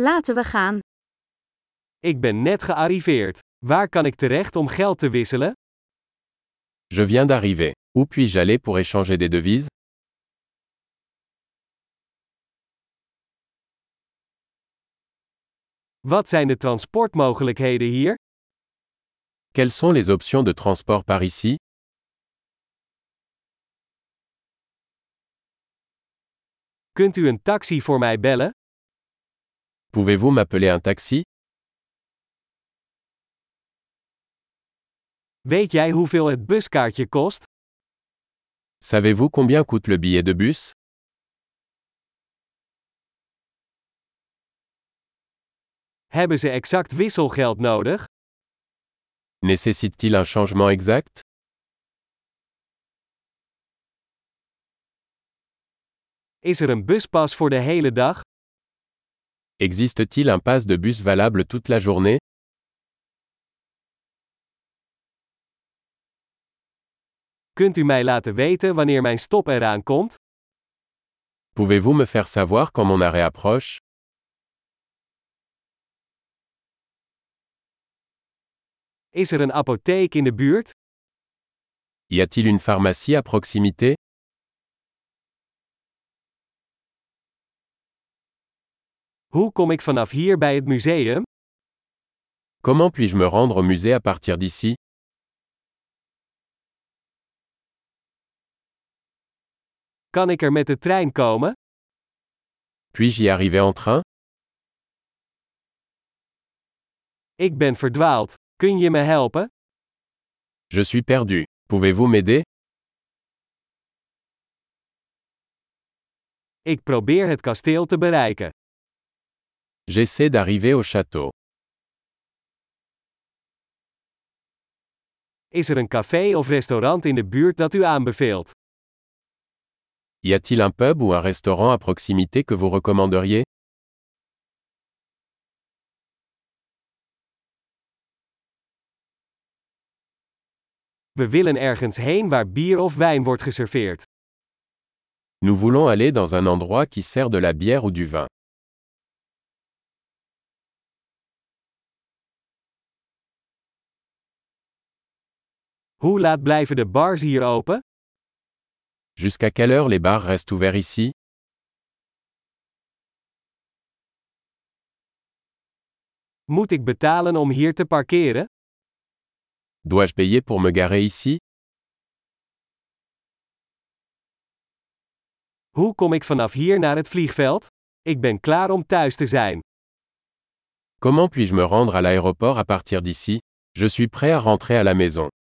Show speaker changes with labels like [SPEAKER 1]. [SPEAKER 1] Laten we gaan.
[SPEAKER 2] Ik ben net gearriveerd. Waar kan ik terecht om geld te wisselen?
[SPEAKER 3] Je viens d'arriver. Où puis-je aller pour échanger des devises
[SPEAKER 2] Wat zijn de transportmogelijkheden hier?
[SPEAKER 3] Quelles sont les options de transport par ici
[SPEAKER 2] Kunt u een taxi voor mij bellen?
[SPEAKER 3] Pouvez-vous m'appeler un taxi
[SPEAKER 2] Weet jij hoeveel het buskaartje kost?
[SPEAKER 3] Savez-vous combien coûte le billet de bus
[SPEAKER 2] Hebben ze exact wisselgeld nodig?
[SPEAKER 3] Nécessite-t-il un changement exact
[SPEAKER 2] Is er een buspas voor de hele dag?
[SPEAKER 3] Existe-t-il un pass de bus valable toute la journée
[SPEAKER 2] Kunt u mij laten weten wanneer mijn stop eraan komt?
[SPEAKER 3] Pouvez-vous me faire savoir quand mon arrêt approche
[SPEAKER 2] Is er een apotheek in de buurt?
[SPEAKER 3] Y a-t-il une pharmacie à proximité
[SPEAKER 2] Hoe kom ik vanaf hier bij het museum?
[SPEAKER 3] Comment puis-je me rendre au musée à partir d'ici
[SPEAKER 2] Kan ik er met de trein komen?
[SPEAKER 3] Puis-je y arriver en train
[SPEAKER 2] Ik ben verdwaald. Kun je me helpen?
[SPEAKER 3] Je suis perdu. Pouvez-vous m'aider
[SPEAKER 2] Ik probeer het kasteel te bereiken.
[SPEAKER 3] J'essaie d'arriver au château.
[SPEAKER 2] Is er een café of restaurant in de buurt dat u aanbeveelt?
[SPEAKER 3] Y a-t-il un pub ou un restaurant à proximité que vous recommanderiez
[SPEAKER 2] We willen ergens heen waar bier of wijn wordt geserveerd.
[SPEAKER 3] Nous voulons aller dans un endroit qui sert de la bière ou du vin.
[SPEAKER 2] Hoe laat blijven de bars hier open?
[SPEAKER 3] Jusqu'à quelle heure les bars restent ouverts ici
[SPEAKER 2] Moet ik betalen om hier te parkeren?
[SPEAKER 3] Dois-je payer pour me garer ici
[SPEAKER 2] Hoe kom ik vanaf hier naar het vliegveld? Ik ben klaar om thuis te zijn.
[SPEAKER 3] Comment puis-je me rendre à l'aéroport à partir d'ici Je suis prêt à rentrer à la maison.